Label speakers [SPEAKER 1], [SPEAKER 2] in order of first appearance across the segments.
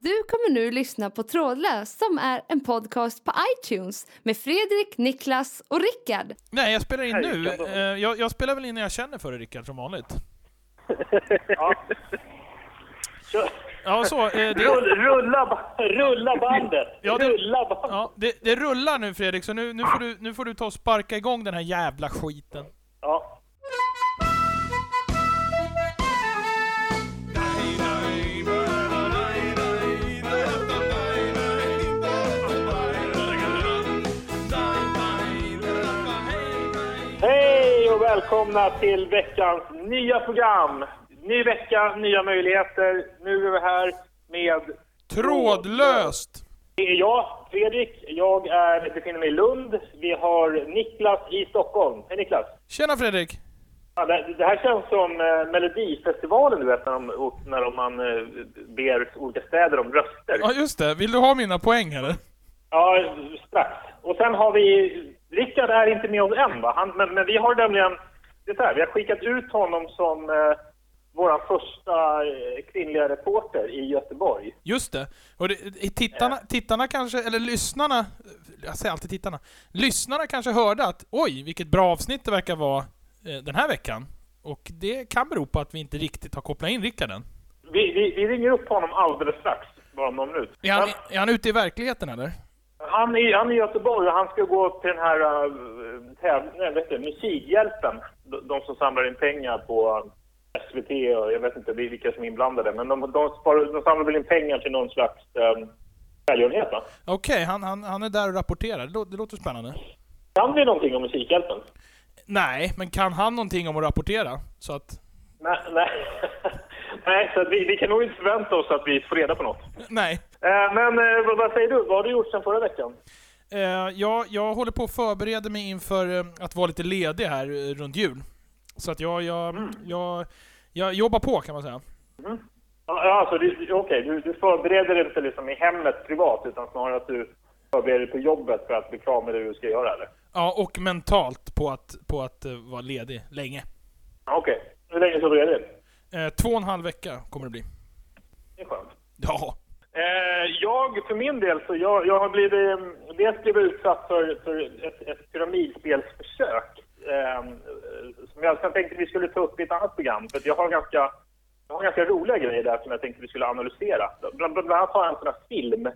[SPEAKER 1] Du kommer nu lyssna på Trådlös som är en podcast på iTunes med Fredrik, Niklas och Rickard.
[SPEAKER 2] Nej, jag spelar in
[SPEAKER 3] Hej,
[SPEAKER 2] nu.
[SPEAKER 3] Rickard.
[SPEAKER 2] Eh, Jag, jag spelar väl in när jag känner för det, Rickard, som vanligt.
[SPEAKER 3] Ja. Kör.
[SPEAKER 2] Ja, så. eh, Det,
[SPEAKER 3] Rull, rulla, ba- rulla bandet!
[SPEAKER 2] Ja, det-
[SPEAKER 3] Rulla bandet!
[SPEAKER 2] ja, det, det rullar nu, Fredrik, så nu, nu, får du, nu får du ta och sparka igång den här jävla skiten.
[SPEAKER 3] Ja. Hej och välkomna till veckans nya program! Ny vecka, nya möjligheter. Nu är vi här med
[SPEAKER 2] Trådlöst!
[SPEAKER 3] Det är jag, Fredrik. Jag är, befinner mig i Lund. Vi har Niklas i Stockholm. Hej Niklas!
[SPEAKER 2] Tjena, Fredrik!
[SPEAKER 3] Ja, det, det här känns som eh, Melodifestivalen, du vet, när, de, och när de, man eh, ber olika städer om röster.
[SPEAKER 2] Ja, just det. Vill du ha mina poäng, eller?
[SPEAKER 3] Ja, strax. Och sen har vi... Rickard är inte med oss än, va? Han, men, men vi har nämligen... Det är så här, vi har skickat ut honom som eh, vår första eh, kvinnliga reporter i Göteborg.
[SPEAKER 2] Just det. Och det, i tittarna, tittarna kanske, eller lyssnarna, jag säger alltid tittarna, lyssnarna kanske hörde att oj, vilket bra avsnitt det verkar vara eh, den här veckan. Och det kan bero på att vi inte riktigt har kopplat in Rickard än.
[SPEAKER 3] Vi, vi, vi ringer upp honom alldeles strax, bara om någon minut.
[SPEAKER 2] Är han, är han ute i verkligheten, eller?
[SPEAKER 3] Han är, han är i Göteborg och han ska gå till den här äh, täv- nej, vet du, Musikhjälpen. De, de som samlar in pengar på eh, SVT och jag vet inte vilka som är inblandade. Men de, de, spar, de samlar väl in pengar till någon slags um, välgörenhet va?
[SPEAKER 2] Okej, han, han, han är där och rapporterar. Det, lå- det låter spännande.
[SPEAKER 3] Kan vi någonting om Musikhjälpen?
[SPEAKER 2] Nej, men kan han någonting om att rapportera? Så att...
[SPEAKER 3] Nej, nej. nej så att vi, vi kan nog inte förvänta oss att vi får reda på något.
[SPEAKER 2] Nej.
[SPEAKER 3] Eh, men eh, vad, vad säger du? Vad har du gjort sedan förra veckan?
[SPEAKER 2] Eh, jag, jag håller på och förbereder mig inför eh, att vara lite ledig här eh, runt jul. Så att jag, jag, jag, jag jobbar på kan man säga.
[SPEAKER 3] Ja, ja, alltså, du- du- okej, du, du förbereder dig inte liksom i hemmet privat utan snarare att du förbereder dig på jobbet för att bli klar med det du ska göra eller?
[SPEAKER 2] Ja, och mentalt på att, på att eh, vara ledig länge.
[SPEAKER 3] Ja, Okej. Hur länge så blir det?
[SPEAKER 2] Eh, två och en halv vecka kommer det bli.
[SPEAKER 3] Det är skönt.
[SPEAKER 2] Ja.
[SPEAKER 3] Eh, jag för min del så jag, jag har blivit, eh, dels blivit utsatt för, för ett, ett pyramidspelsförsök. Eh, som jag sen tänkte vi skulle ta upp i ett annat program. För att jag har ganska, jag har ganska roliga grejer där som jag tänkte vi skulle analysera. Bland, bland annat har jag en sån här film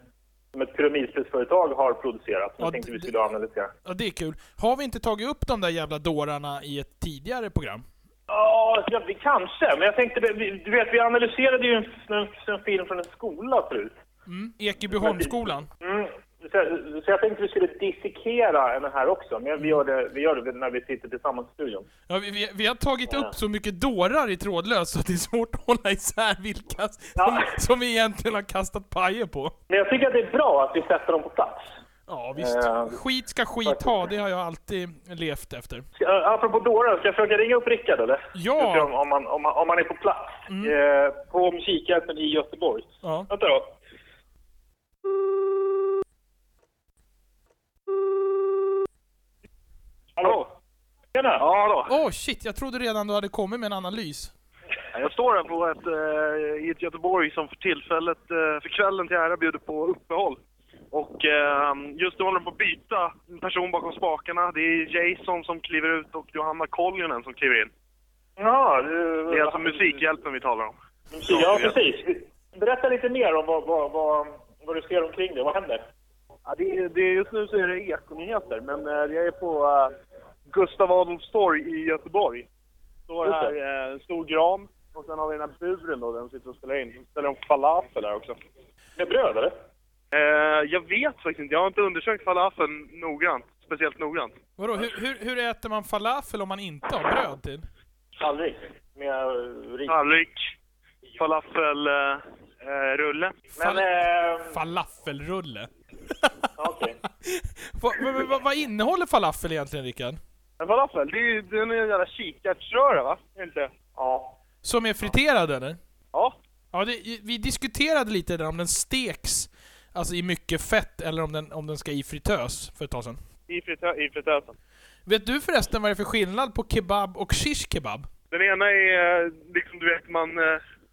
[SPEAKER 3] som ett pyramidspelsföretag har producerat som
[SPEAKER 2] Ja,
[SPEAKER 3] jag tänkte vi
[SPEAKER 2] det-
[SPEAKER 3] skulle analysera.
[SPEAKER 2] ja, det är kul. Har vi inte tagit upp de där jävla dårarna i ett tidigare program?
[SPEAKER 3] Ja, ja, vi kanske. Men jag tänkte, det- vi- du vet vi analyserade ju en, en, en film från en skola förut.
[SPEAKER 2] Mm. Ekebyholmsskolan.
[SPEAKER 3] Mm. Så, så jag tänkte vi skulle dissekera den här också,
[SPEAKER 2] Mm.
[SPEAKER 3] men vi gör det, vi gör det när vi sitter tillsammans i studion.
[SPEAKER 2] Ja, vi- vi, vi har tagit upp så mycket dårar i trådlös så att det är svårt att hålla isär vilka som,
[SPEAKER 3] Ja.
[SPEAKER 2] som vi egentligen har kastat pajer på.
[SPEAKER 3] Men jag tycker att det är bra att vi sätter dem på plats.
[SPEAKER 2] Ja, visst.
[SPEAKER 3] Eh,
[SPEAKER 2] Skit ska skit
[SPEAKER 3] faktiskt.
[SPEAKER 2] ha, det har jag alltid levt efter.
[SPEAKER 3] Ska, äh, apropå dårar, ska jag försöka ringa upp Rickard eller?
[SPEAKER 2] Ja. Mm.
[SPEAKER 3] Jag ser Om, om, han, om, han- om han är på plats eh, på Musikhjälpen i Göteborg.
[SPEAKER 2] Ja.
[SPEAKER 3] Vänta då. Hallå? Tjena!
[SPEAKER 4] Ja, hallå.
[SPEAKER 2] Åh shit, jag trodde redan du hade kommit med en analys.
[SPEAKER 4] Jag står här på ett, eh, i ett Göteborg som för tillfället, eh, för kvällen till ära bjuder på uppehåll. Och eh, just nu håller de på att byta person bakom spakarna. Det är Jason som kliver ut och Johanna Koljonen som kliver in.
[SPEAKER 3] Ja,
[SPEAKER 4] Det är alltså Musikhjälpen vi talar om.
[SPEAKER 3] Ja, precis. Berätta lite mer om vad, vad, vad, vad du ser omkring dig. Vad händer?
[SPEAKER 4] Ja, det, är- det, är- just nu så är det ekonyheter, men eh, jag är på eh, Gustav Adolfs torg i Göteborg. Står
[SPEAKER 3] Just det.
[SPEAKER 4] här eh, en stor gran och sen har vi den här buren då, där de sitter och spelar in. De ställer de falafel där också.
[SPEAKER 3] Med bröd, eller?
[SPEAKER 4] Eh, jag vet faktiskt inte. Jag har inte undersökt falafeln noggrant. Speciellt noggrant.
[SPEAKER 2] Vadå, hur, hur, hur äter man falafel om man inte har bröd till?
[SPEAKER 3] Tallrik. Med eh, ris.
[SPEAKER 4] Tallrik, falafelrulle. Eh, eh, rulle.
[SPEAKER 3] Men, eh,
[SPEAKER 2] Falafelrulle.
[SPEAKER 3] okej.
[SPEAKER 2] vad, vad, vad, vad innehåller falafel egentligen, Rickard?
[SPEAKER 4] Men falafel, det är ju det är en jävla kikärtsröra va? Är det Inte?
[SPEAKER 3] Ja.
[SPEAKER 2] Som är friterad, eller?
[SPEAKER 4] Ja.
[SPEAKER 2] Ja, det, vi diskuterade lite där om den steks alltså i mycket fett eller om den, om den ska i fritös för ett tag sedan.
[SPEAKER 4] I, fritö- I fritösen.
[SPEAKER 2] Vet du förresten vad det är för skillnad på kebab och shish kebab?
[SPEAKER 4] Den ena är eh, liksom du vet man... Eh,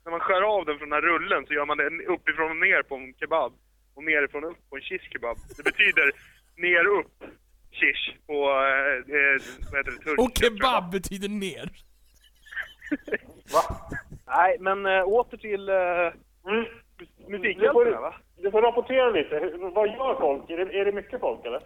[SPEAKER 4] när man skär av den från den här rullen så gör man det uppifrån och ner på en kebab. Och nerifrån och upp på en shish kebab. Det betyder ner upp shish på, eh, eh, vad heter det, turkiska,
[SPEAKER 2] Och
[SPEAKER 4] tror jag.
[SPEAKER 2] kebab betyder ner.
[SPEAKER 3] Va?
[SPEAKER 4] Nej, men eh, åter till eh,
[SPEAKER 3] Mm. Du
[SPEAKER 4] Musikhjälpen
[SPEAKER 3] får,
[SPEAKER 4] va?
[SPEAKER 3] du får rapportera lite. Hur- Vad gör folk? Är det, är det mycket folk eller?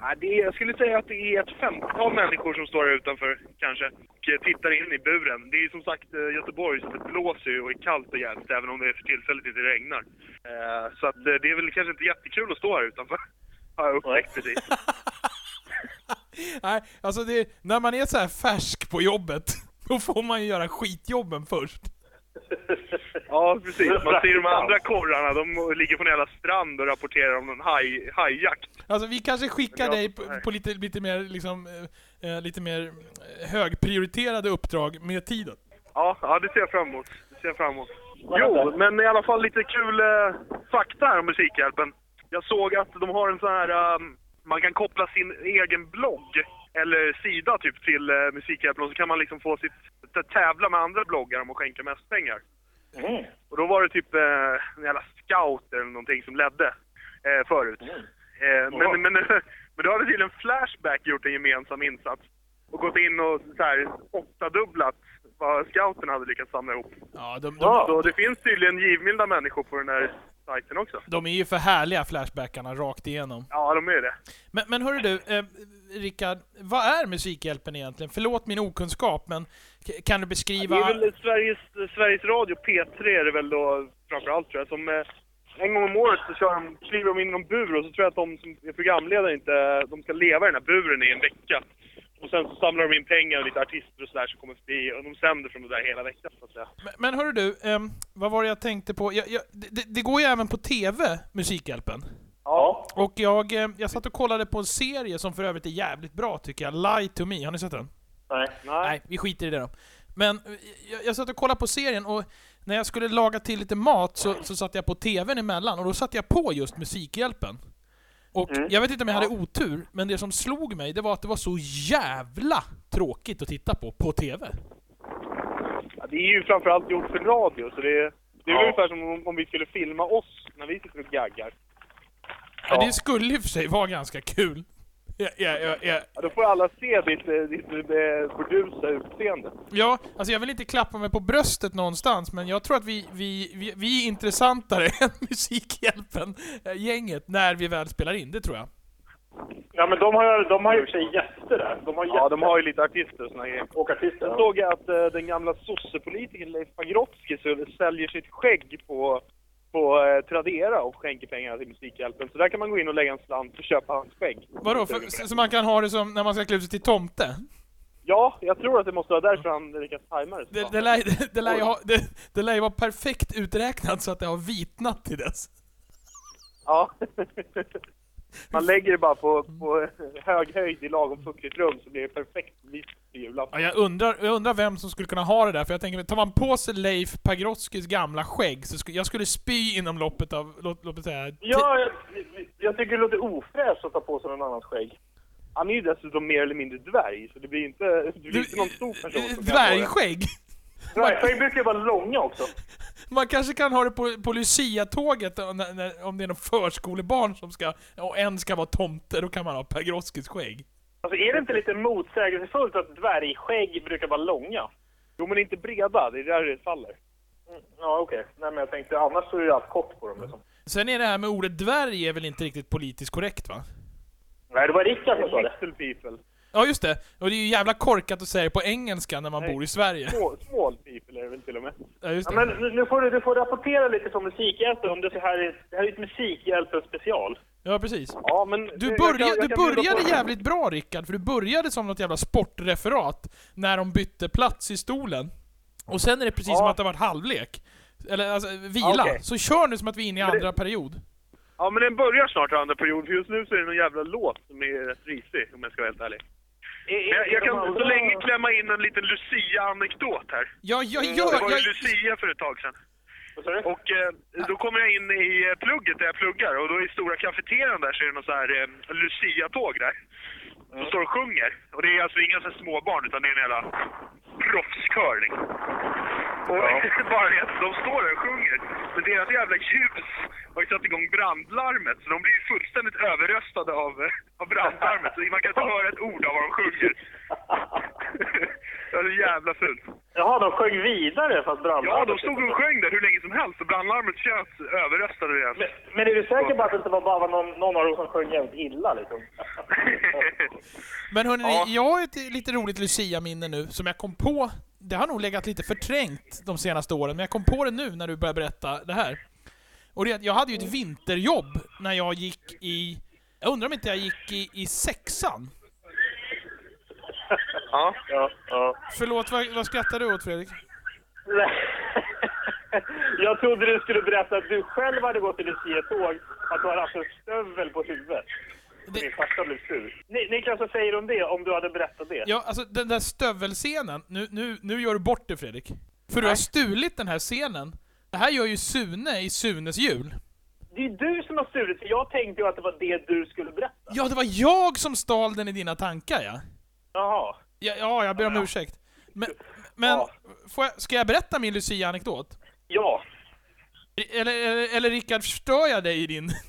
[SPEAKER 4] Ja, det är, jag skulle säga att det är ett femtal människor som står här utanför kanske och eh, tittar in i buren. Det är ju som sagt eh, Göteborg så det blåser ju och är kallt och jävligt även om det för tillfället inte regnar. Eh, Så att eh, det är väl kanske inte jättekul att stå här utanför. Har jag upptäckt precis.
[SPEAKER 2] Nej, alltså det, när man är så här färsk på jobbet, då får man ju göra skitjobben först.
[SPEAKER 4] Ja, precis. Man ser de andra korrarna, de ligger på en jävla strand och rapporterar om någon haj, hajjakt.
[SPEAKER 2] Alltså vi kanske skickar
[SPEAKER 4] Men jag-
[SPEAKER 2] dig på, på lite, lite mer, liksom, eh, eh, lite mer eh, högprioriterade uppdrag med tiden.
[SPEAKER 4] Ja, ja, det ser jag fram emot. Det ser jag fram emot. Jo, men i alla fall lite kul eh, fakta här om Musikhjälpen. Jag såg att de har en sån här... ehm, man kan koppla sin egen blogg eller sida typ till eh, Musikhjälpen och så kan man liksom få sitt... tävla med andra bloggar om att skänka mest pengar.
[SPEAKER 3] Mm.
[SPEAKER 4] Och då var det typ eh, en jävla scout eller någonting som ledde eh, förut. Eh,
[SPEAKER 3] Jaha.
[SPEAKER 4] men, men, men då hade tydligen Flashback gjort en gemensam insats och gått in och så här åttadubblat vad scouten hade lyckats samla ihop.
[SPEAKER 2] Ja, de, de,
[SPEAKER 3] Ja.
[SPEAKER 4] Så det finns tydligen givmilda människor på den här sajten också.
[SPEAKER 2] de är ju för härliga flashbackarna rakt igenom.
[SPEAKER 4] Ja, de är det.
[SPEAKER 2] Men, men hörru du, eh, Rickard, vad är Musikhjälpen egentligen? Förlåt min okunskap, men k- kan du beskriva...
[SPEAKER 4] Det är väl Sveriges, Sveriges Radio, P3 är det väl då framförallt tror jag, som eh, en gång om året så kör de, kliver de in i någon bur och så tror jag att de som är programledare inte, de ska leva i den här buren i en vecka. Och sen så samlar de in pengar och lite artister och sådär som kommer förbi och de sänder från det där hela veckan så att säga.
[SPEAKER 2] Men, men hörru du, ehm, vad var det jag tänkte på? Jag, jag, det- det, det går ju även på TV, Musikhjälpen.
[SPEAKER 3] Ja.
[SPEAKER 2] Och jag, eh, jag satt och kollade på en serie som för övrigt är jävligt bra tycker jag, Lie to me. Har ni sett den?
[SPEAKER 3] Nej.
[SPEAKER 2] Nej, vi skiter i det då. Men eh, jag, jag satt och kollade på serien och när jag skulle laga till lite mat så, så satt jag på TVn emellan och då satte jag på just Musikhjälpen. Och jag vet inte om jag hade otur, men det som slog mig det var att det var så jävla tråkigt att titta på, på TV.
[SPEAKER 4] Ja, det är ju framförallt gjort för radio så det, det är
[SPEAKER 3] Ja.
[SPEAKER 4] ungefär som om, om vi skulle filma oss när vi sitter och gaggar.
[SPEAKER 2] Ja. Det skulle i och för sig vara ganska kul. Ja, ja, ja, ja.
[SPEAKER 4] Ja, då får alla se ditt, eh, ditt, eh, burdusa utseende.
[SPEAKER 2] ja, alltså jag vill inte klappa mig på bröstet någonstans, men jag tror att vi, vi, vi, vi är intressantare än Musikhjälpen-gänget när vi väl spelar in, det tror jag.
[SPEAKER 3] Ja men de har, de har ju i och för sig gäster där. De har gäster
[SPEAKER 4] Ja, de har ju lite artister och såna grejer.
[SPEAKER 3] och artister.
[SPEAKER 4] Sen såg jag att eh, den gamla sossepolitikern Leif Pagrotsky så- säljer sitt skägg på, på eh, Tradera och skänker pengar till Musikhjälpen. Så där kan man gå in och lägga en slant och köpa hans skägg.
[SPEAKER 2] Vadå? För, så så man kan ha det som när man ska klä ut sig till tomte?
[SPEAKER 4] Ja, jag tror att det måste vara därför han lyckas tajma det. så
[SPEAKER 2] Det,
[SPEAKER 4] bra.
[SPEAKER 2] det, lär, det, det, lär ju ha, det, det lär ju vara perfekt uträknat så att det har vitnat till dess.
[SPEAKER 4] Ja. Man lägger det bara på, på hög höjd i lagom fuktigt rum så blir det perfekt vitt till julafton.
[SPEAKER 2] Ja, jag, undrar, jag undrar vem som skulle kunna ha det där, för jag tänker, tar man på sig Leif Pagrotskys gamla skägg så skulle jag skulle spy inom loppet av, låt, låt mig säga,
[SPEAKER 3] Ja, jag, jag tycker det låter ofräscht att ta på sig någon annans skägg.
[SPEAKER 4] Han är ju dessutom mer eller mindre dvärg så det blir inte, det blir inte någon stor person som kan få det.
[SPEAKER 2] Dvärgskägg!
[SPEAKER 3] Dvärgskägg brukar ju vara långa också.
[SPEAKER 2] Man kanske kan ha det på, på Lucia-tåget om- när, när, om det är någon förskolebarn som ska, och en ska vara tomte, då kan man ha Pagrotskys skägg.
[SPEAKER 3] Alltså är det inte lite motsägelsefullt att dvärgskägg brukar vara långa?
[SPEAKER 4] Jo men inte breda, det är där det faller.
[SPEAKER 3] Mm, ja okej. Nej men jag tänkte annars så är det ju allt kort på dem liksom.
[SPEAKER 2] Sen är det här med ordet dvärg är väl inte riktigt politiskt korrekt va?
[SPEAKER 3] Nej det var Rickard som sa det.
[SPEAKER 4] Little people.
[SPEAKER 2] Ja just det, och det är ju jävla korkat att säga det på engelska när man
[SPEAKER 4] Nej.
[SPEAKER 2] bor i Sverige.
[SPEAKER 4] Small, small people är det väl till och med.
[SPEAKER 2] Ja just
[SPEAKER 3] Ja,
[SPEAKER 2] det.
[SPEAKER 3] men nu- nu får du, du får rapportera lite från Musikhjälpen om det så här är, det här är ett Musikhjälpen special.
[SPEAKER 2] Ja precis.
[SPEAKER 4] Ja, men
[SPEAKER 2] Du,
[SPEAKER 4] jag
[SPEAKER 2] börja,
[SPEAKER 4] kan- jag
[SPEAKER 2] du
[SPEAKER 4] kan bjuda
[SPEAKER 2] började
[SPEAKER 4] på-
[SPEAKER 2] jävligt bra Rickard, för du började som något jävla sportreferat när de bytte plats i stolen. Och sen är det precis som att det har varit halvlek. Eller alltså, vila.
[SPEAKER 4] Ja, okej.
[SPEAKER 2] Så kör nu som att vi är inne i
[SPEAKER 4] det-
[SPEAKER 2] andra period.
[SPEAKER 4] Ja, men den börjar snart andra period, för just nu så är det någon jävla låt som är rätt risig, om jag ska vara helt ärlig. Men jag, jag kan så länge klämma in en liten Lucia-anekdot här.
[SPEAKER 2] Ja, ja, ja,
[SPEAKER 4] Det var ju
[SPEAKER 2] ja,
[SPEAKER 4] Lucia för ett tag sedan.
[SPEAKER 3] Vad sa du?
[SPEAKER 4] Och eh, då kommer jag in i eh, plugget där jag pluggar och då i stora kafeterian där så är det någon så här eh, Lucia-tåg där. Som står och sjunger. Och det är alltså inga så här småbarn utan det är en jävla proffscurling. Och bara det att de står där och sjunger. Men deras jävla ljus har ju satt igång brandlarmet så de blir ju fullständigt överröstade av, eh, av brandlarmet. Så man kan inte höra ett ord av vad de sjunger. det är så jävla fult.
[SPEAKER 3] Jaha, de sjöng vidare fast brandlarmet...
[SPEAKER 4] Ja, de stod och sjöng där hur länge som helst och brandlarmet tjöts överröstade deras.
[SPEAKER 3] Men, men är du säker på att det inte var bara någon, någon av dem som sjöng jävligt illa liksom?
[SPEAKER 2] Men hörni,
[SPEAKER 4] Ja.
[SPEAKER 2] jag har ett lite roligt Lucia-minne nu som jag kom på. Det har nog legat lite förträngt de senaste åren, men jag kom på det nu när du började berätta det här. Och det, är att jag hade ju ett vinterjobb när jag gick i... Jag undrar om inte jag gick i, i sexan?
[SPEAKER 4] Ja.
[SPEAKER 3] ja, ja.
[SPEAKER 2] Förlåt, vad, vad skrattar du åt Fredrik?
[SPEAKER 3] Nej. Jag trodde du skulle berätta att du själv hade gått i Lucia-tåg att du hade haft en stövel på huvudet.
[SPEAKER 2] Det-
[SPEAKER 3] Din farsa blev sur. Ni, Niklas, vad säger du om det? Om du hade berättat det?
[SPEAKER 2] Ja, alltså den där stövelscenen. Nu, nu, nu gör du bort det Fredrik. För du har stulit den här scenen. Det här gör ju Sune i Sunes jul.
[SPEAKER 3] Det är ju du som har stulit, för jag tänkte ju att det var det du skulle berätta.
[SPEAKER 2] Ja, det var jag som stal den i dina tankar ja.
[SPEAKER 3] Jaha.
[SPEAKER 2] Ja, ja jag ber om ursäkt. Men, men
[SPEAKER 3] Ja.
[SPEAKER 2] får jag, ska jag berätta min Lucia-anekdot?
[SPEAKER 3] Ja.
[SPEAKER 2] Eller, eller, eller Rickard, förstör jag dig i din...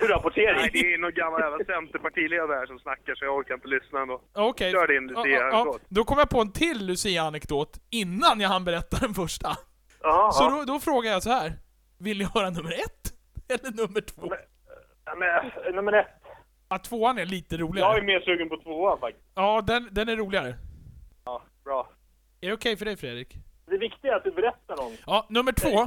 [SPEAKER 4] Nej,
[SPEAKER 3] Rapportering.
[SPEAKER 4] det är någon gammal jävla centerpartiledare här som snackar så jag orkar inte lyssna ändå.
[SPEAKER 2] Okej.
[SPEAKER 4] Kör din
[SPEAKER 2] Ja,
[SPEAKER 4] Lucia-anekdot.
[SPEAKER 2] Då kom jag på en till Lucia-anekdot innan jag hann berätta den första.
[SPEAKER 3] Jaha.
[SPEAKER 2] Så då, då frågar jag så här. Vill ni höra nummer ett? Eller nummer två?
[SPEAKER 3] Ja, men, eh, nummer ett.
[SPEAKER 2] Ja, tvåan är lite
[SPEAKER 3] Jag är
[SPEAKER 2] roligare.
[SPEAKER 3] mer sugen på tvåan faktiskt.
[SPEAKER 2] Ja, den, den är roligare. Är
[SPEAKER 3] Ja, bra.
[SPEAKER 2] det okej för dig Fredrik?
[SPEAKER 3] Det viktiga är att du berättar någon.
[SPEAKER 2] Ja, nummer två.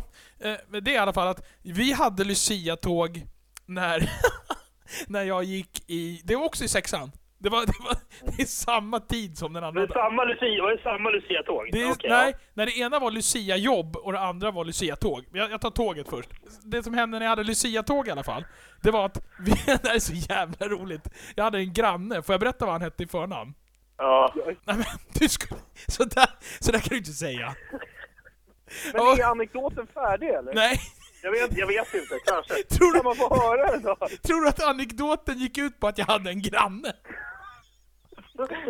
[SPEAKER 2] Eh, men det är i alla fall att vi hade Lucia-tåg när, när jag gick i... Det var också i sexan. Det, var, det, var, det är samma tid som den
[SPEAKER 3] Det
[SPEAKER 2] andra.
[SPEAKER 3] är samma Lucia, var det samma Lucia-tåg?
[SPEAKER 2] Det är,
[SPEAKER 3] Okej,
[SPEAKER 2] nej, när det ena var Lucia-jobb och det andra var Lucia-tåg. Jag, jag tar tåget först. Det som hände när jag hade Lucia-tåg i alla fall, det var att... Vi, det här är så jävla roligt. Jag hade en granne, får jag berätta vad han hette i förnamn?
[SPEAKER 3] Ja.
[SPEAKER 2] Nej men du skulle... Sådär, sådär kan du inte säga.
[SPEAKER 3] Men
[SPEAKER 2] Ja.
[SPEAKER 3] är anekdoten färdig eller?
[SPEAKER 2] Nej.
[SPEAKER 3] Jag vet, jag vet inte, kanske.
[SPEAKER 2] Tror du-
[SPEAKER 3] Kan man få höra den då?
[SPEAKER 2] Tror du att anekdoten gick ut på att jag hade en granne?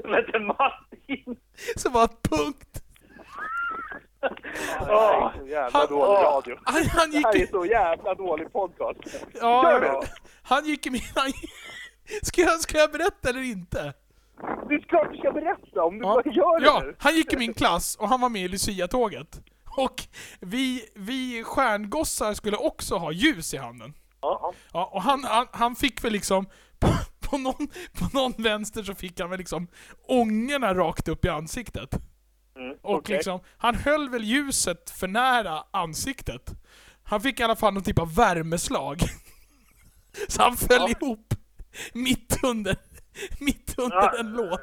[SPEAKER 3] Vänta, Martin!
[SPEAKER 2] som var punkt.
[SPEAKER 3] Åh,
[SPEAKER 4] Så jävla
[SPEAKER 2] Han-
[SPEAKER 4] dålig radio.
[SPEAKER 2] Han, han
[SPEAKER 3] det här
[SPEAKER 2] gick
[SPEAKER 3] är
[SPEAKER 2] i...
[SPEAKER 3] så jävla dålig podcast.
[SPEAKER 2] Ja,
[SPEAKER 3] gör
[SPEAKER 2] jag-
[SPEAKER 3] det.
[SPEAKER 2] han gick i min... Han, ska, jag, ska jag berätta eller inte?
[SPEAKER 3] Det är klart du ska berätta om du bara gör det
[SPEAKER 2] ja,
[SPEAKER 3] nu.
[SPEAKER 2] han gick i min klass och han var med i Lucia-tåget. Och vi, vi stjärngossar skulle också ha ljus i handen.
[SPEAKER 3] Ja,
[SPEAKER 2] Ja, och han, han, han fick väl liksom... På, på, någon, på någon vänster så fick han väl liksom ångorna rakt upp i ansiktet. Och
[SPEAKER 3] Mm, okej.
[SPEAKER 2] liksom, han höll väl ljuset för nära ansiktet. Han fick i alla fall någon typ av värmeslag. Så han föll ihop mitt under, mitt under
[SPEAKER 3] Ja.
[SPEAKER 2] en låt.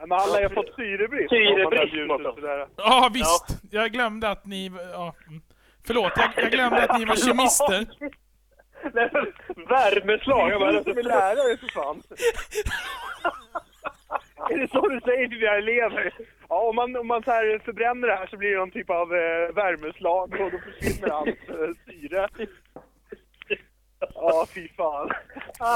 [SPEAKER 4] Men han lär ju ha fått syrebrist.
[SPEAKER 3] Syrebrist,
[SPEAKER 4] Om man tar ljuset
[SPEAKER 3] Mårten.
[SPEAKER 4] sådär.
[SPEAKER 2] Ja, visst. Jag glömde att ni... Ja, mm. förlåt, jag, jag glömde att ni var kemister.
[SPEAKER 3] Nej, men värmeslag! Jag bara,
[SPEAKER 4] Du är lärare för fan.
[SPEAKER 3] är det så du säger till dina elever?
[SPEAKER 4] Ja, om man, om man så här förbränner det här så blir det någon typ av eh, värmeslag och då försvinner allt eh, syre. Ja, fy fan.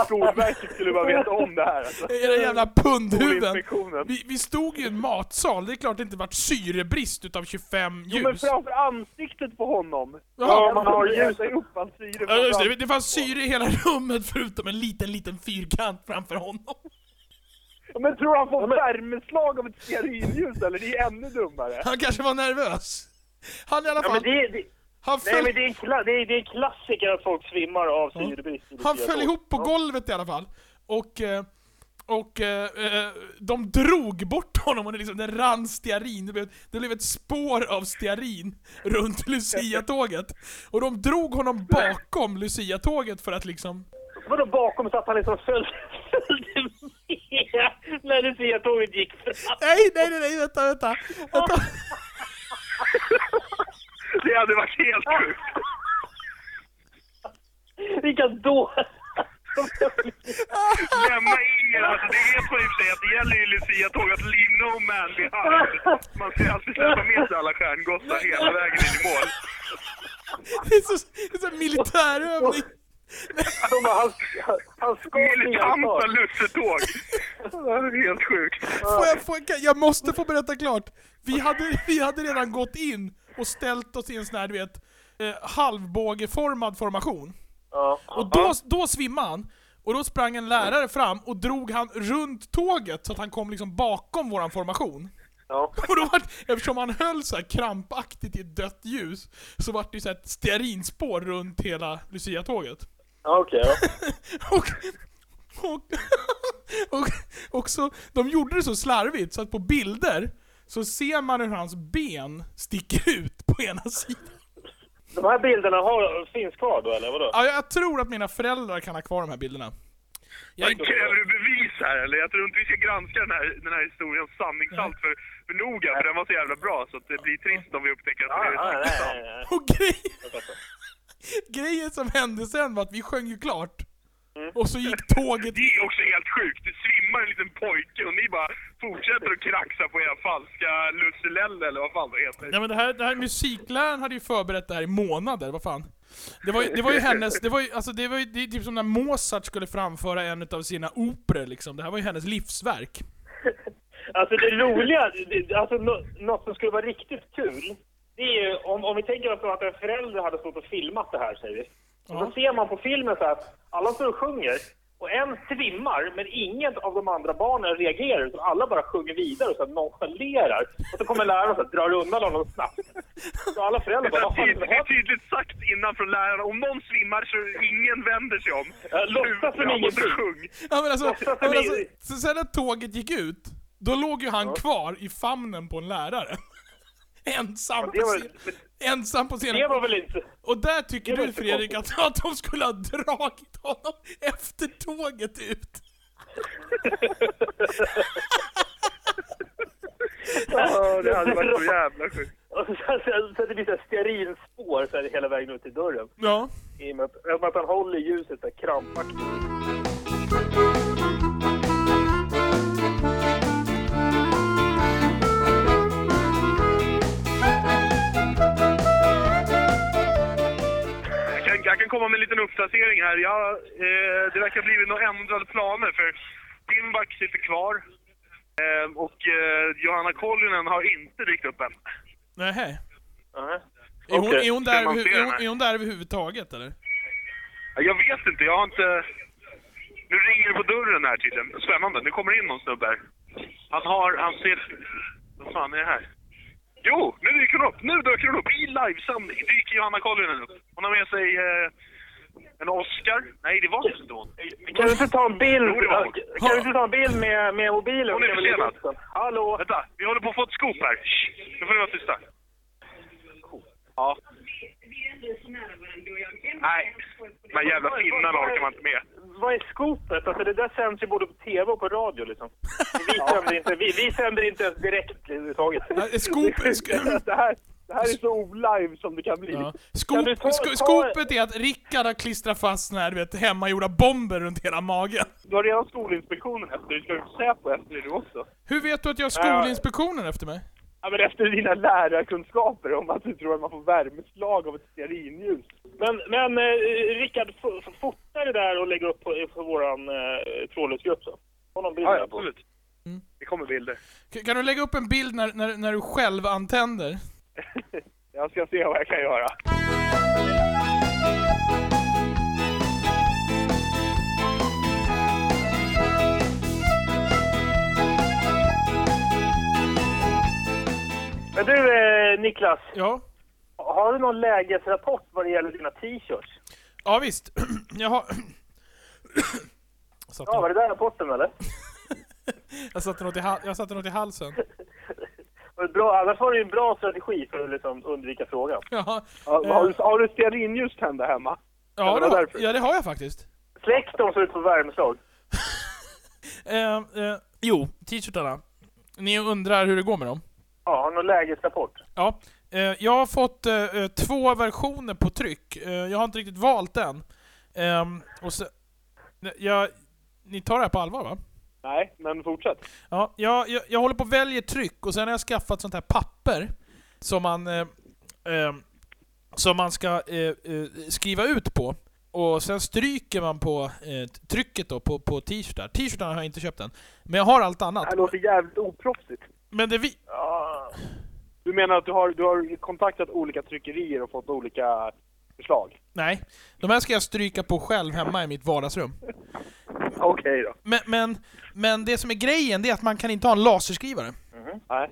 [SPEAKER 4] Skolverket skulle bara veta om det här. Alltså.
[SPEAKER 2] Era jävla pundhuvuden.
[SPEAKER 4] Skolinspektionen.
[SPEAKER 2] Vi, vi stod ju i en matsal. Det är klart det inte vart syrebrist utav 25 ljus.
[SPEAKER 4] Jo, men framför ansiktet på honom.
[SPEAKER 2] Ja,
[SPEAKER 3] man har ljus.
[SPEAKER 4] Jävla upp all syre.
[SPEAKER 2] Ja, just
[SPEAKER 4] framför
[SPEAKER 2] det. Det fanns syre i hela rummet förutom en liten, liten fyrkant framför honom.
[SPEAKER 4] Ja, Men tror han får värmeslag av ett stearinljus eller? Det är ännu dummare.
[SPEAKER 2] Han kanske var nervös. Han i alla
[SPEAKER 3] Ja, men
[SPEAKER 2] fall...
[SPEAKER 3] det, det,
[SPEAKER 2] Han
[SPEAKER 3] nej,
[SPEAKER 2] föll,
[SPEAKER 3] men det, är en kla, det, är, det är en klassiker att folk svimmar av syrebrist. i
[SPEAKER 2] han
[SPEAKER 3] Lucia-tåg.
[SPEAKER 2] föll ihop på golvet i alla fall. Och... eh, Och eh, eh, de drog bort honom och det, liksom, det rann stearin. Det blev, det blev ett spår av stearin runt Lucia-tåget. Och de drog honom bakom Lucia-tåget för att liksom...
[SPEAKER 3] Vadå bakom så att han liksom följde, följde med när Lucia-tåget gick fram?
[SPEAKER 2] Nej, nej, nej, nej, vänta, vänta. vänta.
[SPEAKER 4] Det hade varit helt sjukt.
[SPEAKER 3] Vilka då?
[SPEAKER 4] Lämna in er. Alltså, det vet man i och för sig att det gäller ju Lucia-tåg att leave no man behind. Man ska alltid släppa med sig alla stjärngossar hela vägen in i mål.
[SPEAKER 2] Det är så, det är så en militärövning.
[SPEAKER 3] De bara, han, han ska
[SPEAKER 4] Militanta
[SPEAKER 3] delta.
[SPEAKER 4] lussetåg. Det här är helt sjukt.
[SPEAKER 2] Får jag, får jag, jag måste få berätta klart. Vi hade, vi hade redan gått in och ställt oss i en sån här, du vet, eh, halvbågeformad formation.
[SPEAKER 3] Ja.
[SPEAKER 2] Och då, då svimmade han. Och då sprang en lärare fram och drog han runt tåget så att han kom liksom bakom våran formation.
[SPEAKER 3] Ja.
[SPEAKER 2] Och då var, eftersom han höll så här krampaktigt i ett dött ljus så var det ju så här ett stearinspår runt hela Lucia-tåget.
[SPEAKER 3] Ja, okej. ja.
[SPEAKER 2] Och, och, och, och så, de gjorde det så slarvigt så att på bilder så ser man hur hans ben sticker ut på ena sidan.
[SPEAKER 3] De här bilderna har, finns kvar då, eller vadå?
[SPEAKER 2] Ja, jag tror att mina föräldrar kan ha kvar de här bilderna. Jag,
[SPEAKER 4] Kräver du bevis här eller? Jag tror inte vi ska granska den här, den här historiens sanningshalt för, för noga, för den var så jävla bra så att det blir trist om vi upptäcker att
[SPEAKER 3] Ja,
[SPEAKER 4] den är
[SPEAKER 3] ja, nej,
[SPEAKER 4] sanningshalt.
[SPEAKER 3] nej, nej.
[SPEAKER 2] och grej, grejen som hände sen var att vi sjöng ju klart.
[SPEAKER 3] Mm.
[SPEAKER 2] Och så gick tåget...
[SPEAKER 4] Det är också helt sjukt. Det svimmar en liten pojke och ni bara fortsätter att kraxa på era falska Lusselelle eller vad fan det heter.
[SPEAKER 2] Nej men det här, det här musikläraren hade ju förberett det här i månader, vad fan. Det var ju, det var ju hennes, det var ju, alltså det var ju det är typ som när Mozart skulle framföra en av sina operor liksom. Det här var ju hennes livsverk.
[SPEAKER 3] Alltså det roliga, det- alltså nå- något som skulle vara riktigt kul, det är ju om, om vi tänker oss då att en förälder hade stått och filmat det här säger vi. Och så ser man på filmen så här, alla står och sjunger och en svimmar men inget av de andra barnen reagerar utan alla bara sjunger vidare och så här nonchalerar. Och så kommer läraren och så här, drar undan honom snabbt. Så alla föräldrar
[SPEAKER 4] Det
[SPEAKER 3] bara, vad
[SPEAKER 4] är
[SPEAKER 3] fan
[SPEAKER 4] tydligt- det är
[SPEAKER 3] har
[SPEAKER 4] tydligt sagt innan från läraren, om någon svimmar så ingen vänder sig om.
[SPEAKER 3] Ja, låtsas som
[SPEAKER 4] Ja,
[SPEAKER 3] ingenting.
[SPEAKER 4] och sjung.
[SPEAKER 2] Ja men alltså, ja, men alltså
[SPEAKER 3] Blir-
[SPEAKER 2] så sen när tåget gick ut, då låg ju han kvar i famnen på en lärare. ensam,
[SPEAKER 3] det
[SPEAKER 2] på
[SPEAKER 3] var-
[SPEAKER 2] scen, ensam på
[SPEAKER 3] det
[SPEAKER 2] scenen.
[SPEAKER 3] var väl inte...
[SPEAKER 2] Och där tycker
[SPEAKER 3] det var
[SPEAKER 2] du
[SPEAKER 3] inte
[SPEAKER 2] Fredrik att, att de skulle ha dragit honom efter tåget ut.
[SPEAKER 4] Ja, det hade varit så jävla sjukt.
[SPEAKER 3] Och så, så, så att det blir så här stearinspår så här hela vägen ut till dörren.
[SPEAKER 2] Ja.
[SPEAKER 3] I och med att, eftersom att han håller ljuset där krampaktigt.
[SPEAKER 4] Jag kan, jag kan komma med en liten uppdatering här. Jag, eh, det verkar ha blivit några ändrade planer för Dimbach sitter kvar eh, och eh, Johanna Koljonen har inte dykt upp än.
[SPEAKER 2] Nähä.
[SPEAKER 3] Aha.
[SPEAKER 2] Är hon,
[SPEAKER 3] Okej,
[SPEAKER 2] är, hon
[SPEAKER 4] ska
[SPEAKER 2] där,
[SPEAKER 4] man
[SPEAKER 2] överhu-
[SPEAKER 4] se
[SPEAKER 2] är,
[SPEAKER 4] henne?
[SPEAKER 2] hon, är hon där överhuvudtaget eller?
[SPEAKER 4] Jag vet inte, jag har inte... Nu ringer det på dörren här tydligen. Spännande, nu kommer det in någon snubbe här. Han har, han ser... Vad fan är det här? Jo, nu dyker hon upp! Nu dyker hon upp! I livesändning dyker Johanna Koljonen upp. Hon har med sig eh, en Oscar. Nej, det var inte hon.
[SPEAKER 3] Kan du inte ta en bild?
[SPEAKER 4] Jo, det var hon.
[SPEAKER 3] Kan du inte ta en bild med, med mobilen?
[SPEAKER 4] Hon är
[SPEAKER 3] Kan vi lägga upp
[SPEAKER 4] försenad.
[SPEAKER 3] den? Hallå?
[SPEAKER 4] Vänta, vi håller på att få ett scoop här. Shh, nu får ni vara tysta. Ja. Nej, de här jävla finnarna orkar man inte med.
[SPEAKER 3] Vad är skopet? Alltså det där sänds ju både på TV och på radio liksom. Vi sänder inte, vi, vi sänder inte ens direkt överhuvudtaget.
[SPEAKER 2] Nej, skop- sk-
[SPEAKER 3] det, här, det här är så olive som det kan bli.
[SPEAKER 2] Ja.
[SPEAKER 3] Kan
[SPEAKER 2] Skop,
[SPEAKER 3] du ta-
[SPEAKER 2] sko-
[SPEAKER 3] ta-
[SPEAKER 2] skopet är att Rickard har klistrat fast såna här, du vet, hemmagjorda bomber runt hela magen.
[SPEAKER 3] Du har redan Skolinspektionen efter dig. Ska du Säpo efter dig du också?
[SPEAKER 2] Hur vet du att jag har Skolinspektionen efter mig?
[SPEAKER 3] Ja, men efter dina lärarkunskaper om att du tror att man får värmeslag av ett stearinljus. Men, men eh, Rickard, f- f- fota det där och lägg upp på, på vår eh, trådlösgrupp så. Har någon bild
[SPEAKER 4] Ja, ja,
[SPEAKER 3] där på?
[SPEAKER 4] absolut. Det kommer bilder.
[SPEAKER 2] K- Kan du lägga upp en bild när, när, när du själv antänder?
[SPEAKER 3] Jag ska se vad jag kan göra. Men du eh, Niklas,
[SPEAKER 2] Ja.
[SPEAKER 3] har du någon lägesrapport vad det gäller dina t-shirts?
[SPEAKER 2] Ja visst. Jag har... Jag satte,
[SPEAKER 3] Ja, var det där rapporten eller?
[SPEAKER 2] jag satte, något, i hal- jag satte något i halsen.
[SPEAKER 3] Var det Bra, annars var det ju en bra strategi för att liksom undvika frågan.
[SPEAKER 2] Ja,
[SPEAKER 5] Har du, har du stearinljus tända hemma?
[SPEAKER 2] ja,
[SPEAKER 5] var
[SPEAKER 2] det, har,
[SPEAKER 5] därför.
[SPEAKER 2] ja det har jag faktiskt.
[SPEAKER 3] Släck dem så ut på värmeslag.
[SPEAKER 2] Eh, eh, jo, t-shirtarna. Ni undrar hur det går med dem?
[SPEAKER 3] Ja, har du någon lägesrapport?
[SPEAKER 2] Ja, eh, jag har fått eh, eh, två versioner på tryck. Eh, jag har inte riktigt valt den. Ehm, och så, Nej, jag, ni tar det här på allvar va?
[SPEAKER 5] Nej, men fortsätt.
[SPEAKER 2] Ja, jag, jag, jag håller på och väljer tryck och sen har jag skaffat sånt här papper ehm, som man, eh, eh, som man ska eh, eh, skriva ut på. Och sen stryker man på eh, t- trycket då, på, på t-shirtar. T-shirtarna har jag inte köpt än. Men jag har allt annat.
[SPEAKER 5] Det här låter jävligt oproffsigt.
[SPEAKER 2] Men det vi...
[SPEAKER 5] Du menar att du har, du har kontaktat olika tryckerier och fått olika förslag?
[SPEAKER 2] Nej. De här ska jag stryka på själv hemma i mitt vardagsrum.
[SPEAKER 5] Okej då.
[SPEAKER 2] Men, men, men det som är grejen, det är att man kan inte ha en laserskrivare.
[SPEAKER 5] Mm-hmm. Nej.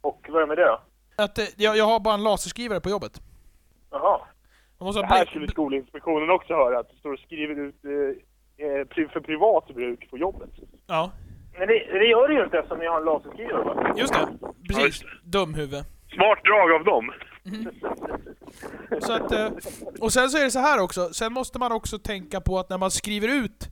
[SPEAKER 3] Och vad är med det då?
[SPEAKER 2] Att, eh, jag, jag har bara en laserskrivare på jobbet.
[SPEAKER 3] Jaha.
[SPEAKER 2] Man måste
[SPEAKER 5] Det
[SPEAKER 2] ha
[SPEAKER 5] här
[SPEAKER 2] bläck-
[SPEAKER 5] skulle Skolinspektionen också höra, att du står och skriver ut eh, eh, pri- för privat bruk på jobbet.
[SPEAKER 2] Ja,
[SPEAKER 3] Men det, det gör det ju inte eftersom ni har en laserskrivare va?
[SPEAKER 2] just det.
[SPEAKER 4] Ja,
[SPEAKER 2] Precis.
[SPEAKER 4] just
[SPEAKER 2] Dumhuvud.
[SPEAKER 4] Smart drag av dem.
[SPEAKER 2] Så att, eh, och sen så är det så här också, sen måste man också tänka på att när man skriver ut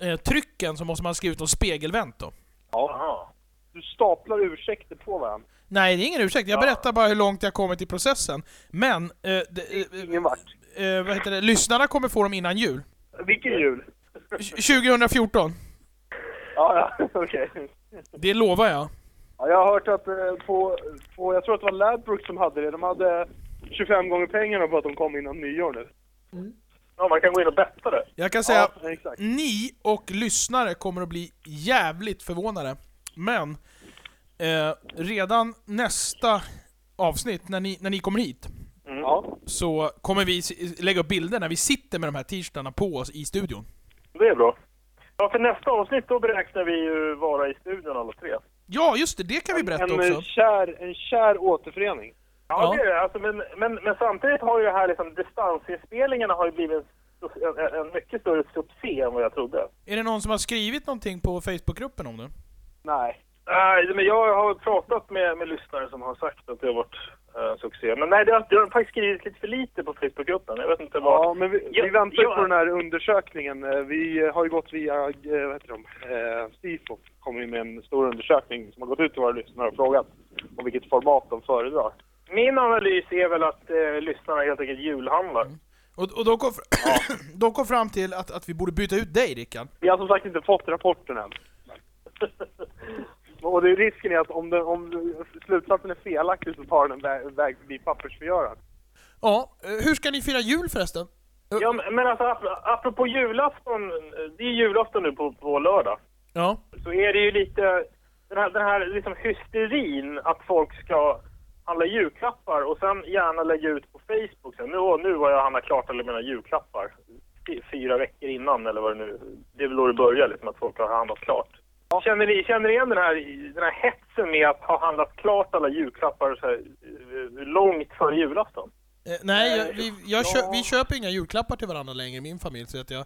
[SPEAKER 2] eh, trycken så måste man skriva ut dem spegelvänt då.
[SPEAKER 3] Jaha.
[SPEAKER 5] Du staplar ursäkter på varandra.
[SPEAKER 2] Nej, det är ingen ursäkt. Jag berättar bara hur långt jag kommit i processen. Men, eh, det,
[SPEAKER 5] Ingen vart.
[SPEAKER 2] eh, eh, vad heter det, lyssnarna kommer få dem innan jul.
[SPEAKER 5] Vilken jul?
[SPEAKER 2] Tj- 2014.
[SPEAKER 5] Ja, ja, okej.
[SPEAKER 2] Det lovar jag.
[SPEAKER 5] Ja, jag har hört att eh, på, på, jag tror att det var Ladbrokes som hade det, de hade 25 gånger pengarna på att de kom innan nyår nu.
[SPEAKER 3] Ja, man kan gå in och betta det.
[SPEAKER 2] Jag kan säga,
[SPEAKER 5] Ja, exakt.
[SPEAKER 2] ni och lyssnare kommer att bli jävligt förvånade. Men, eh, redan nästa avsnitt, när ni, när ni kommer hit,
[SPEAKER 3] Mm.
[SPEAKER 5] Ja.
[SPEAKER 2] så kommer vi s- lägga upp bilder när vi sitter med de här t-shirtarna på oss i studion.
[SPEAKER 3] Det är bra. Ja, för nästa avsnitt då beräknar vi ju vara i studion alla tre.
[SPEAKER 2] Ja, just det, det kan vi berätta
[SPEAKER 5] En, eh,
[SPEAKER 2] också.
[SPEAKER 5] kär, en kär återförening.
[SPEAKER 2] Ja.
[SPEAKER 3] Ja, det är det. Alltså, men, men, men samtidigt har ju det här liksom, distansinspelningarna har ju blivit en, en, en mycket större succé än vad jag trodde.
[SPEAKER 2] Är det någon som har skrivit någonting på Facebookgruppen om det?
[SPEAKER 5] Nej.
[SPEAKER 3] Nej, men jag har pratat med, med lyssnare som har sagt att det har varit eh, succé. Men nej, det har, det har faktiskt skrivits lite för lite på Facebookgruppen. Jag vet inte vad.
[SPEAKER 5] Ja, men vi,
[SPEAKER 3] Ja,
[SPEAKER 5] vi väntar
[SPEAKER 3] ja.
[SPEAKER 5] på den här undersökningen. Eh, Vi eh, har ju gått via, eh, vad heter de, eh, Sifo. Kommer ju med en stor undersökning som har gått ut till våra lyssnare och frågat om vilket format de föredrar.
[SPEAKER 3] Min analys är väl att eh, lyssnarna helt enkelt julhandlar.
[SPEAKER 2] Och, och de, kom fr- de kom fram till att, att vi borde byta ut dig, Rickard.
[SPEAKER 5] Vi har som sagt inte fått rapporten än. Och det, risken är att om, den, om slutsatsen är felaktig så tar den en vä- väg förbi pappersförgöraren.
[SPEAKER 2] Ja, eh, hur ska ni fira jul förresten?
[SPEAKER 3] Ja, men men alltså ap- apropå julafton, eh, det är julafton nu på, på lördag,
[SPEAKER 2] Ja.
[SPEAKER 3] så är det ju lite den här, den här liksom hysterin att folk ska handla julklappar och sen gärna lägga ut på Facebook sen, nu, åh, nu har jag handlat klart alla mina julklappar. Fy- Fyra veckor innan eller vad det nu Det är väl då det börjar liksom att folk har handlat klart. Känner ni, känner ni igen den här, den här hetsen med att ha handlat klart alla julklappar så här, eh, långt före julafton?
[SPEAKER 2] Eh, nej, jag, vi, jag kö, vi köper inga julklappar till varandra längre i min familj, så att jag...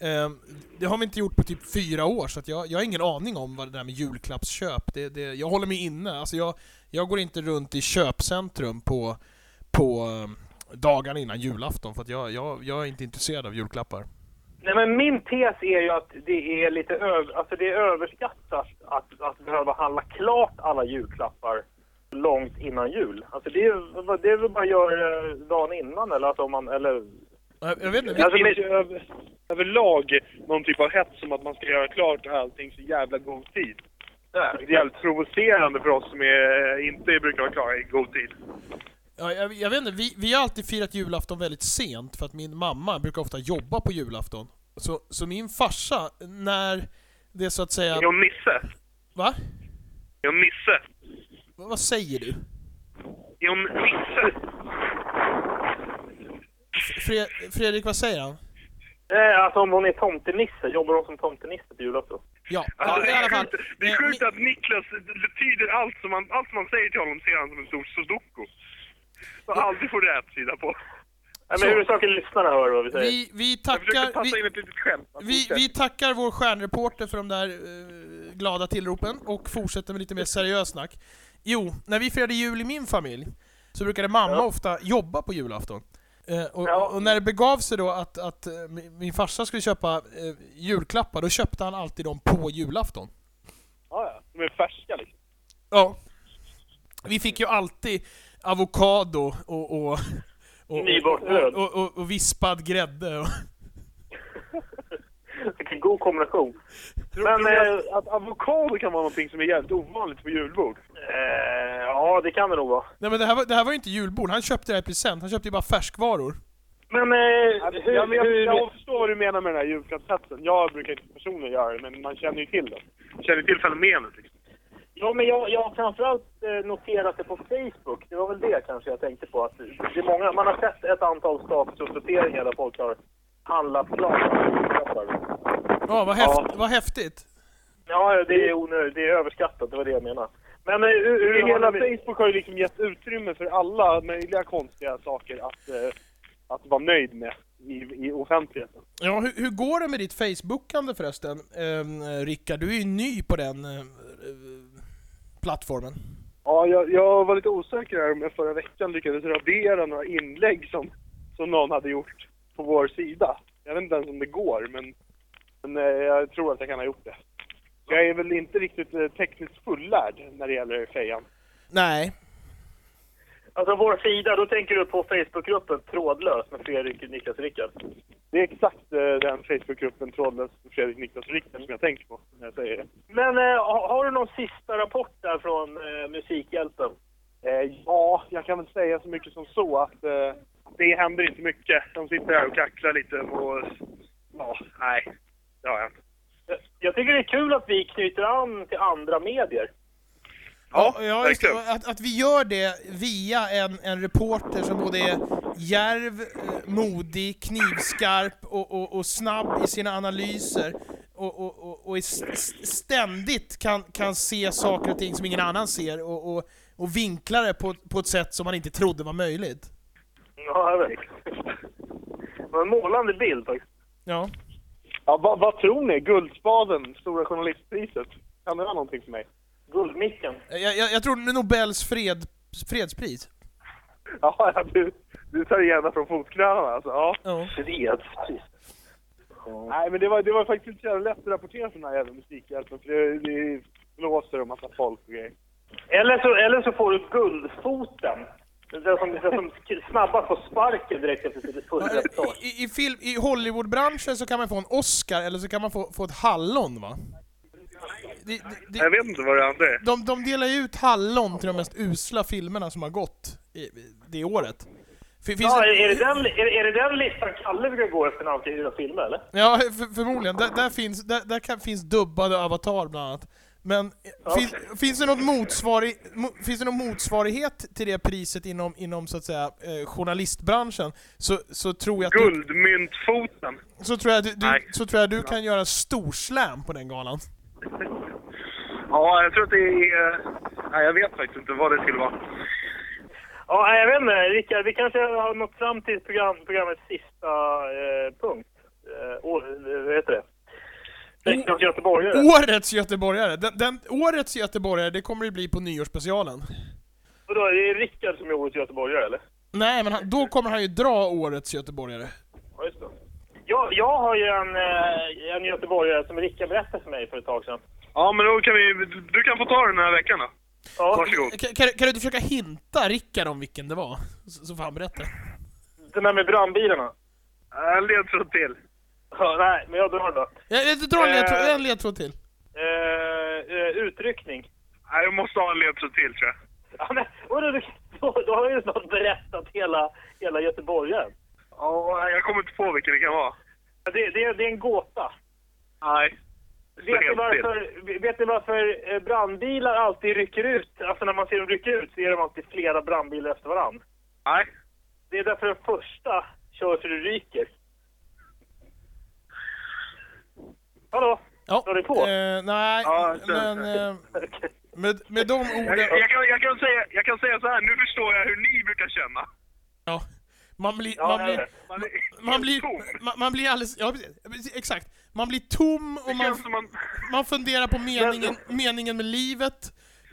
[SPEAKER 2] ehm, det har vi inte gjort på typ fyra år, så att jag, jag har ingen aning om vad det där med julklappsköp, det, det, jag håller mig inne. Alltså jag, jag går inte runt i köpcentrum på, på ehm, dagarna innan julafton, för att jag, jag, jag är inte intresserad av julklappar.
[SPEAKER 3] Nej, men min tes är ju att det är lite över, alltså det är överskattat att, att behöva handla klart alla julklappar långt innan jul. Alltså det är, vad- det är väl bara att göra eh, dagen innan eller att om man, eller... Alltså,
[SPEAKER 2] Jag, jag vet inte,
[SPEAKER 5] Det finns ju över, överlag någon typ av hets som att man ska göra klart allting så jävla god tid. Det är jävligt provocerande för oss som är, eh, inte brukar vara klara i god tid.
[SPEAKER 2] Ja, jag, jag vet inte, vi, vi har alltid firat julafton väldigt sent för att min mamma brukar ofta jobba på julafton. Så, så min farsa, när det är så att säga...
[SPEAKER 4] Jag Nisse.
[SPEAKER 2] Va?
[SPEAKER 4] Jag Nisse.
[SPEAKER 2] Vad vad säger du?
[SPEAKER 4] Jag Nisse.
[SPEAKER 2] Fre, Fredrik, vad säger han?
[SPEAKER 3] Nej, alltså om hon är tomtenisse, jobbar hon som tomtenisse på julafton?
[SPEAKER 2] Ja, ja
[SPEAKER 4] Alltså,
[SPEAKER 2] i alla fall.
[SPEAKER 4] Det är sjukt, det är
[SPEAKER 2] eh,
[SPEAKER 4] sjukt
[SPEAKER 2] mi-
[SPEAKER 4] att Niklas betyder allt som man, allt som man säger till honom ser han som en stor sudoku. Som aldrig får rätt sida på.
[SPEAKER 3] Nej,
[SPEAKER 2] Så.
[SPEAKER 3] men huvudsaken lyssnarna hör vad vi säger.
[SPEAKER 2] vi, vi
[SPEAKER 4] Jag försökte
[SPEAKER 2] tackar...
[SPEAKER 4] passa in
[SPEAKER 2] Vi,
[SPEAKER 4] ett litet skämt.
[SPEAKER 2] vi, vi tackar vår stjärnreporter för de där eh, glada tillropen och fortsätter med lite mer seriös snack. Jo, när vi firade jul i min familj så brukade mamma ofta jobba på julafton. Eh, och,
[SPEAKER 3] Ja.
[SPEAKER 2] och när det begav sig då att, att eh, min- min farsa skulle köpa eh, julklappar, då köpte han alltid dem på julafton.
[SPEAKER 5] Ja, ja. De är färska liksom.
[SPEAKER 2] Ja. Vi fick ju alltid avokado och... och, och och,
[SPEAKER 3] Nybakt
[SPEAKER 2] och,
[SPEAKER 3] bröd.
[SPEAKER 2] och, och, och vispad grädde. och-
[SPEAKER 3] Vilken god kombination. Men, eh,
[SPEAKER 5] Men att avokado kan vara någonting som är jävligt ovanligt på julbord.
[SPEAKER 3] eh, ja, det kan det nog vara.
[SPEAKER 2] Nej men det här var, det här var ju inte julbord, han köpte det här i present, han köpte ju bara färskvaror.
[SPEAKER 3] Men eh, hur...
[SPEAKER 5] Jag, vet,
[SPEAKER 3] hur
[SPEAKER 5] jag förstår vad du menar med den här julklappssatsen. Jag brukar inte personligen göra det, men man känner ju till den. Känner till fenomenet liksom.
[SPEAKER 3] Ja, men jag, jag har framförallt eh, noterat det på Facebook. Det var väl det kanske jag tänkte på. Att det är många, man har sett ett antal statusuppdateringar där folk har handlat klart.
[SPEAKER 2] Ja, vad, häft, vad häftigt.
[SPEAKER 3] Ja, det är onödigt. Det är överskattat. Det var det jag menade. Men eh, hur, hur
[SPEAKER 5] Hela
[SPEAKER 3] har ni...
[SPEAKER 5] Facebook har ju liksom gett utrymme för alla möjliga konstiga saker att, eh, att vara nöjd med i, i offentligheten.
[SPEAKER 2] Ja, hur, hur går det med ditt Facebookande förresten, eh, Rickard? Du är ju ny på den eh, eh, plattformen.
[SPEAKER 5] Ja, jag, jag var lite osäker här om jag förra veckan lyckades radera några inlägg som, som någon hade gjort på vår sida. Jag vet inte ens om det går, men, men eh, jag tror att jag kan ha gjort det. Jag är väl inte riktigt eh, tekniskt fullärd när det gäller fejan.
[SPEAKER 2] Nej.
[SPEAKER 3] Alltså vår sida, då tänker du på Facebookgruppen Trådlös med Fredrik, Niklas och Rickard.
[SPEAKER 5] Det är exakt eh, den Facebookgruppen Trådlös med Fredrik, Niklas och Rickard som jag tänker på när jag säger det.
[SPEAKER 3] Men eh, ha- har du någon sista rapport där från eh, Musikhjälpen?
[SPEAKER 5] Eh, ja, jag kan väl säga så mycket som så att eh, det händer inte mycket. De sitter här och kacklar lite och... Ja, nej. Det har jag inte.
[SPEAKER 3] Jag- Jag tycker det är kul att vi knyter an till andra medier.
[SPEAKER 2] Ja, ja, just det. Att, att vi gör det via en, en reporter som både är järv, eh, modig, knivskarp och, och, och snabb i sina analyser och, och, och, och är s- s- ständigt kan, kan se saker och ting som ingen annan ser och, och, och vinkla det på, på ett sätt som man inte trodde var möjligt.
[SPEAKER 3] Ja, jag vet. Det var en målande bild faktiskt.
[SPEAKER 2] Ja.
[SPEAKER 5] Ja, vad, vad tror ni? Guldspaden, Stora Journalistpriset. Kan det vara någonting för mig?
[SPEAKER 3] Guldmicken.
[SPEAKER 2] Jag, jag, jag tror det är Nobels fred, fredspris.
[SPEAKER 5] Ja, ja, du, du tar gärna från fotknölarna alltså. Ja.
[SPEAKER 2] Ja.
[SPEAKER 3] Fredspris.
[SPEAKER 5] Nej, men det var, det var faktiskt inte så jävla lätt att rapportera från den här jävla Musikhjälpen. För det, det blåser och massa folk och grejer.
[SPEAKER 3] Eller så, eller så får du guldfoten. Den som, den som sk- snabbast får sparken direkt efter sitt fulla reportage.
[SPEAKER 2] I, i, film, I Hollywoodbranschen så kan man få en Oscar eller så kan man få, få ett hallon va? Det, det, det,
[SPEAKER 5] vet inte vad det andra är.
[SPEAKER 2] de, de delar ju ut hallon till de mest usla filmerna som har gått i, i- det året. Fin- Finns
[SPEAKER 3] Ja,
[SPEAKER 2] det-
[SPEAKER 3] är det, den, är, är det den listan Kalle brukar gå efter när han ska hyra filmer, eller?
[SPEAKER 2] Ja, för, förmodligen. Där, där, finns, där, där kan, finns dubbade Avatar bland annat. Men eh, finns, finns, det något motsvarig, mo, finns det någon motsvarighet till det priset inom, inom så att säga, eh, journalistbranschen så, så tror jag att du,
[SPEAKER 5] Guldmyntfoten.
[SPEAKER 2] så tror jag du,
[SPEAKER 5] Nej.
[SPEAKER 2] du, så tror jag du kan göra storslam på den galan.
[SPEAKER 5] Ja, jag tror att det är... eh, Nej, jag vet faktiskt inte vad det skulle vara.
[SPEAKER 3] Ja, nej, jag vet inte. Rickard, vi kanske har nått fram till program, programmets sista eh, punkt. Eh, och, eh, vad heter det? Veckans göteborgare.
[SPEAKER 2] Mm. Årets göteborgare! Den, den, årets göteborgare, det kommer det bli på nyårsspecialen.
[SPEAKER 3] Och då är det Rickard som är årets göteborgare, eller?
[SPEAKER 2] Nej, men han, då kommer han ju dra årets göteborgare.
[SPEAKER 3] Ja, just det. Jag, jag har ju en, eh, en göteborgare som Rickard berättade för mig för ett tag sedan.
[SPEAKER 5] Ja, men då kan vi... Du kan få ta den här veckan då.
[SPEAKER 3] Ja,
[SPEAKER 5] Varsågod.
[SPEAKER 2] Kan, kan, du- kan du inte försöka hinta Rickard om vilken det var? Så, så får han berätta.
[SPEAKER 3] den där med brandbilarna.
[SPEAKER 5] En Eh, ledtråd till.
[SPEAKER 3] Ja, nej, men jag drar då.
[SPEAKER 2] Jag, jag drar en
[SPEAKER 3] Eh.
[SPEAKER 2] ledtråd, en ledtråd till.
[SPEAKER 3] Eh, eh, utryckning.
[SPEAKER 5] Nej, jag måste ha en ledtråd till tror jag.
[SPEAKER 3] Ja, men, och då, då, då har jag ju snart berättat hela, hela göteborgaren.
[SPEAKER 5] Ja, jag kommer inte på vilken det kan vara.
[SPEAKER 3] Ja, Det, det, det är en gåta.
[SPEAKER 5] Nej.
[SPEAKER 3] Vet ni, varför, vet ni varför eh, brandbilar alltid rycker ut? Alltså när man ser dem rycka ut så är de alltid flera brandbilar efter varandra.
[SPEAKER 5] Nej.
[SPEAKER 3] Det är därför den första kör så det ryker. Hallå?
[SPEAKER 2] Ja.
[SPEAKER 3] Drar du på?
[SPEAKER 2] Eh, nej,
[SPEAKER 5] Ja, det-
[SPEAKER 2] men eh, med, med de
[SPEAKER 5] Jag,
[SPEAKER 2] orden...
[SPEAKER 5] jag, kan, jag, kan säga, jag kan säga så här, nu förstår jag hur ni brukar känna.
[SPEAKER 2] Ja. Man blir,
[SPEAKER 3] Ja,
[SPEAKER 2] man
[SPEAKER 3] jag
[SPEAKER 2] blir,
[SPEAKER 3] vet.
[SPEAKER 5] Man är
[SPEAKER 2] man blir,
[SPEAKER 5] tom.
[SPEAKER 2] man, man blir alldeles, ja precis, precis, exakt. Man blir tom och
[SPEAKER 5] Det
[SPEAKER 2] man,
[SPEAKER 5] känns som man...
[SPEAKER 2] man funderar på meningen, meningen med livet.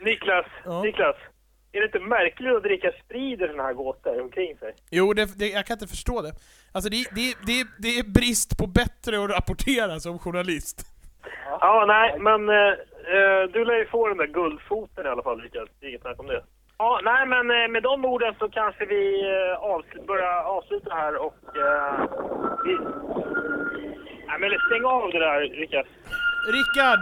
[SPEAKER 3] Niklas,
[SPEAKER 2] Ja.
[SPEAKER 3] Niklas. Är det inte märkligt att dricka sprider såna här gåtor omkring sig?
[SPEAKER 2] Jo, det, det, jag kan inte förstå det. Alltså det, det, det, det är brist på bättre att rapportera som journalist.
[SPEAKER 3] Ja, nej, men eh, eh, du lär ju få den där guldfoten i alla fall, Rickard. Det är inget snack om det. Ja, nej, men eh, med de orden så kanske vi eh, avsl- börjar avsluta här och... Eh, vi... Nej, men stäng av det där, Rickard.
[SPEAKER 2] Rickard!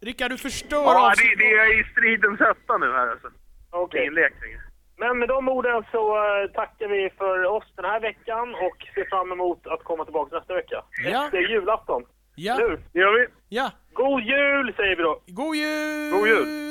[SPEAKER 2] Rickard, du förstör
[SPEAKER 5] Ja,
[SPEAKER 2] avsnitt-
[SPEAKER 5] det, det är i stridens hetta nu här alltså. Det är
[SPEAKER 3] Okej.
[SPEAKER 5] ingen lek längre.
[SPEAKER 3] Men med de orden så eh, tackar vi för oss den här veckan och ser fram emot att komma tillbaka nästa vecka.
[SPEAKER 2] Ja.
[SPEAKER 3] Efter julafton.
[SPEAKER 2] Ja,
[SPEAKER 3] Nu, det gör vi.
[SPEAKER 2] ja.
[SPEAKER 3] God jul säger vi då!
[SPEAKER 2] God jul!
[SPEAKER 4] God jul!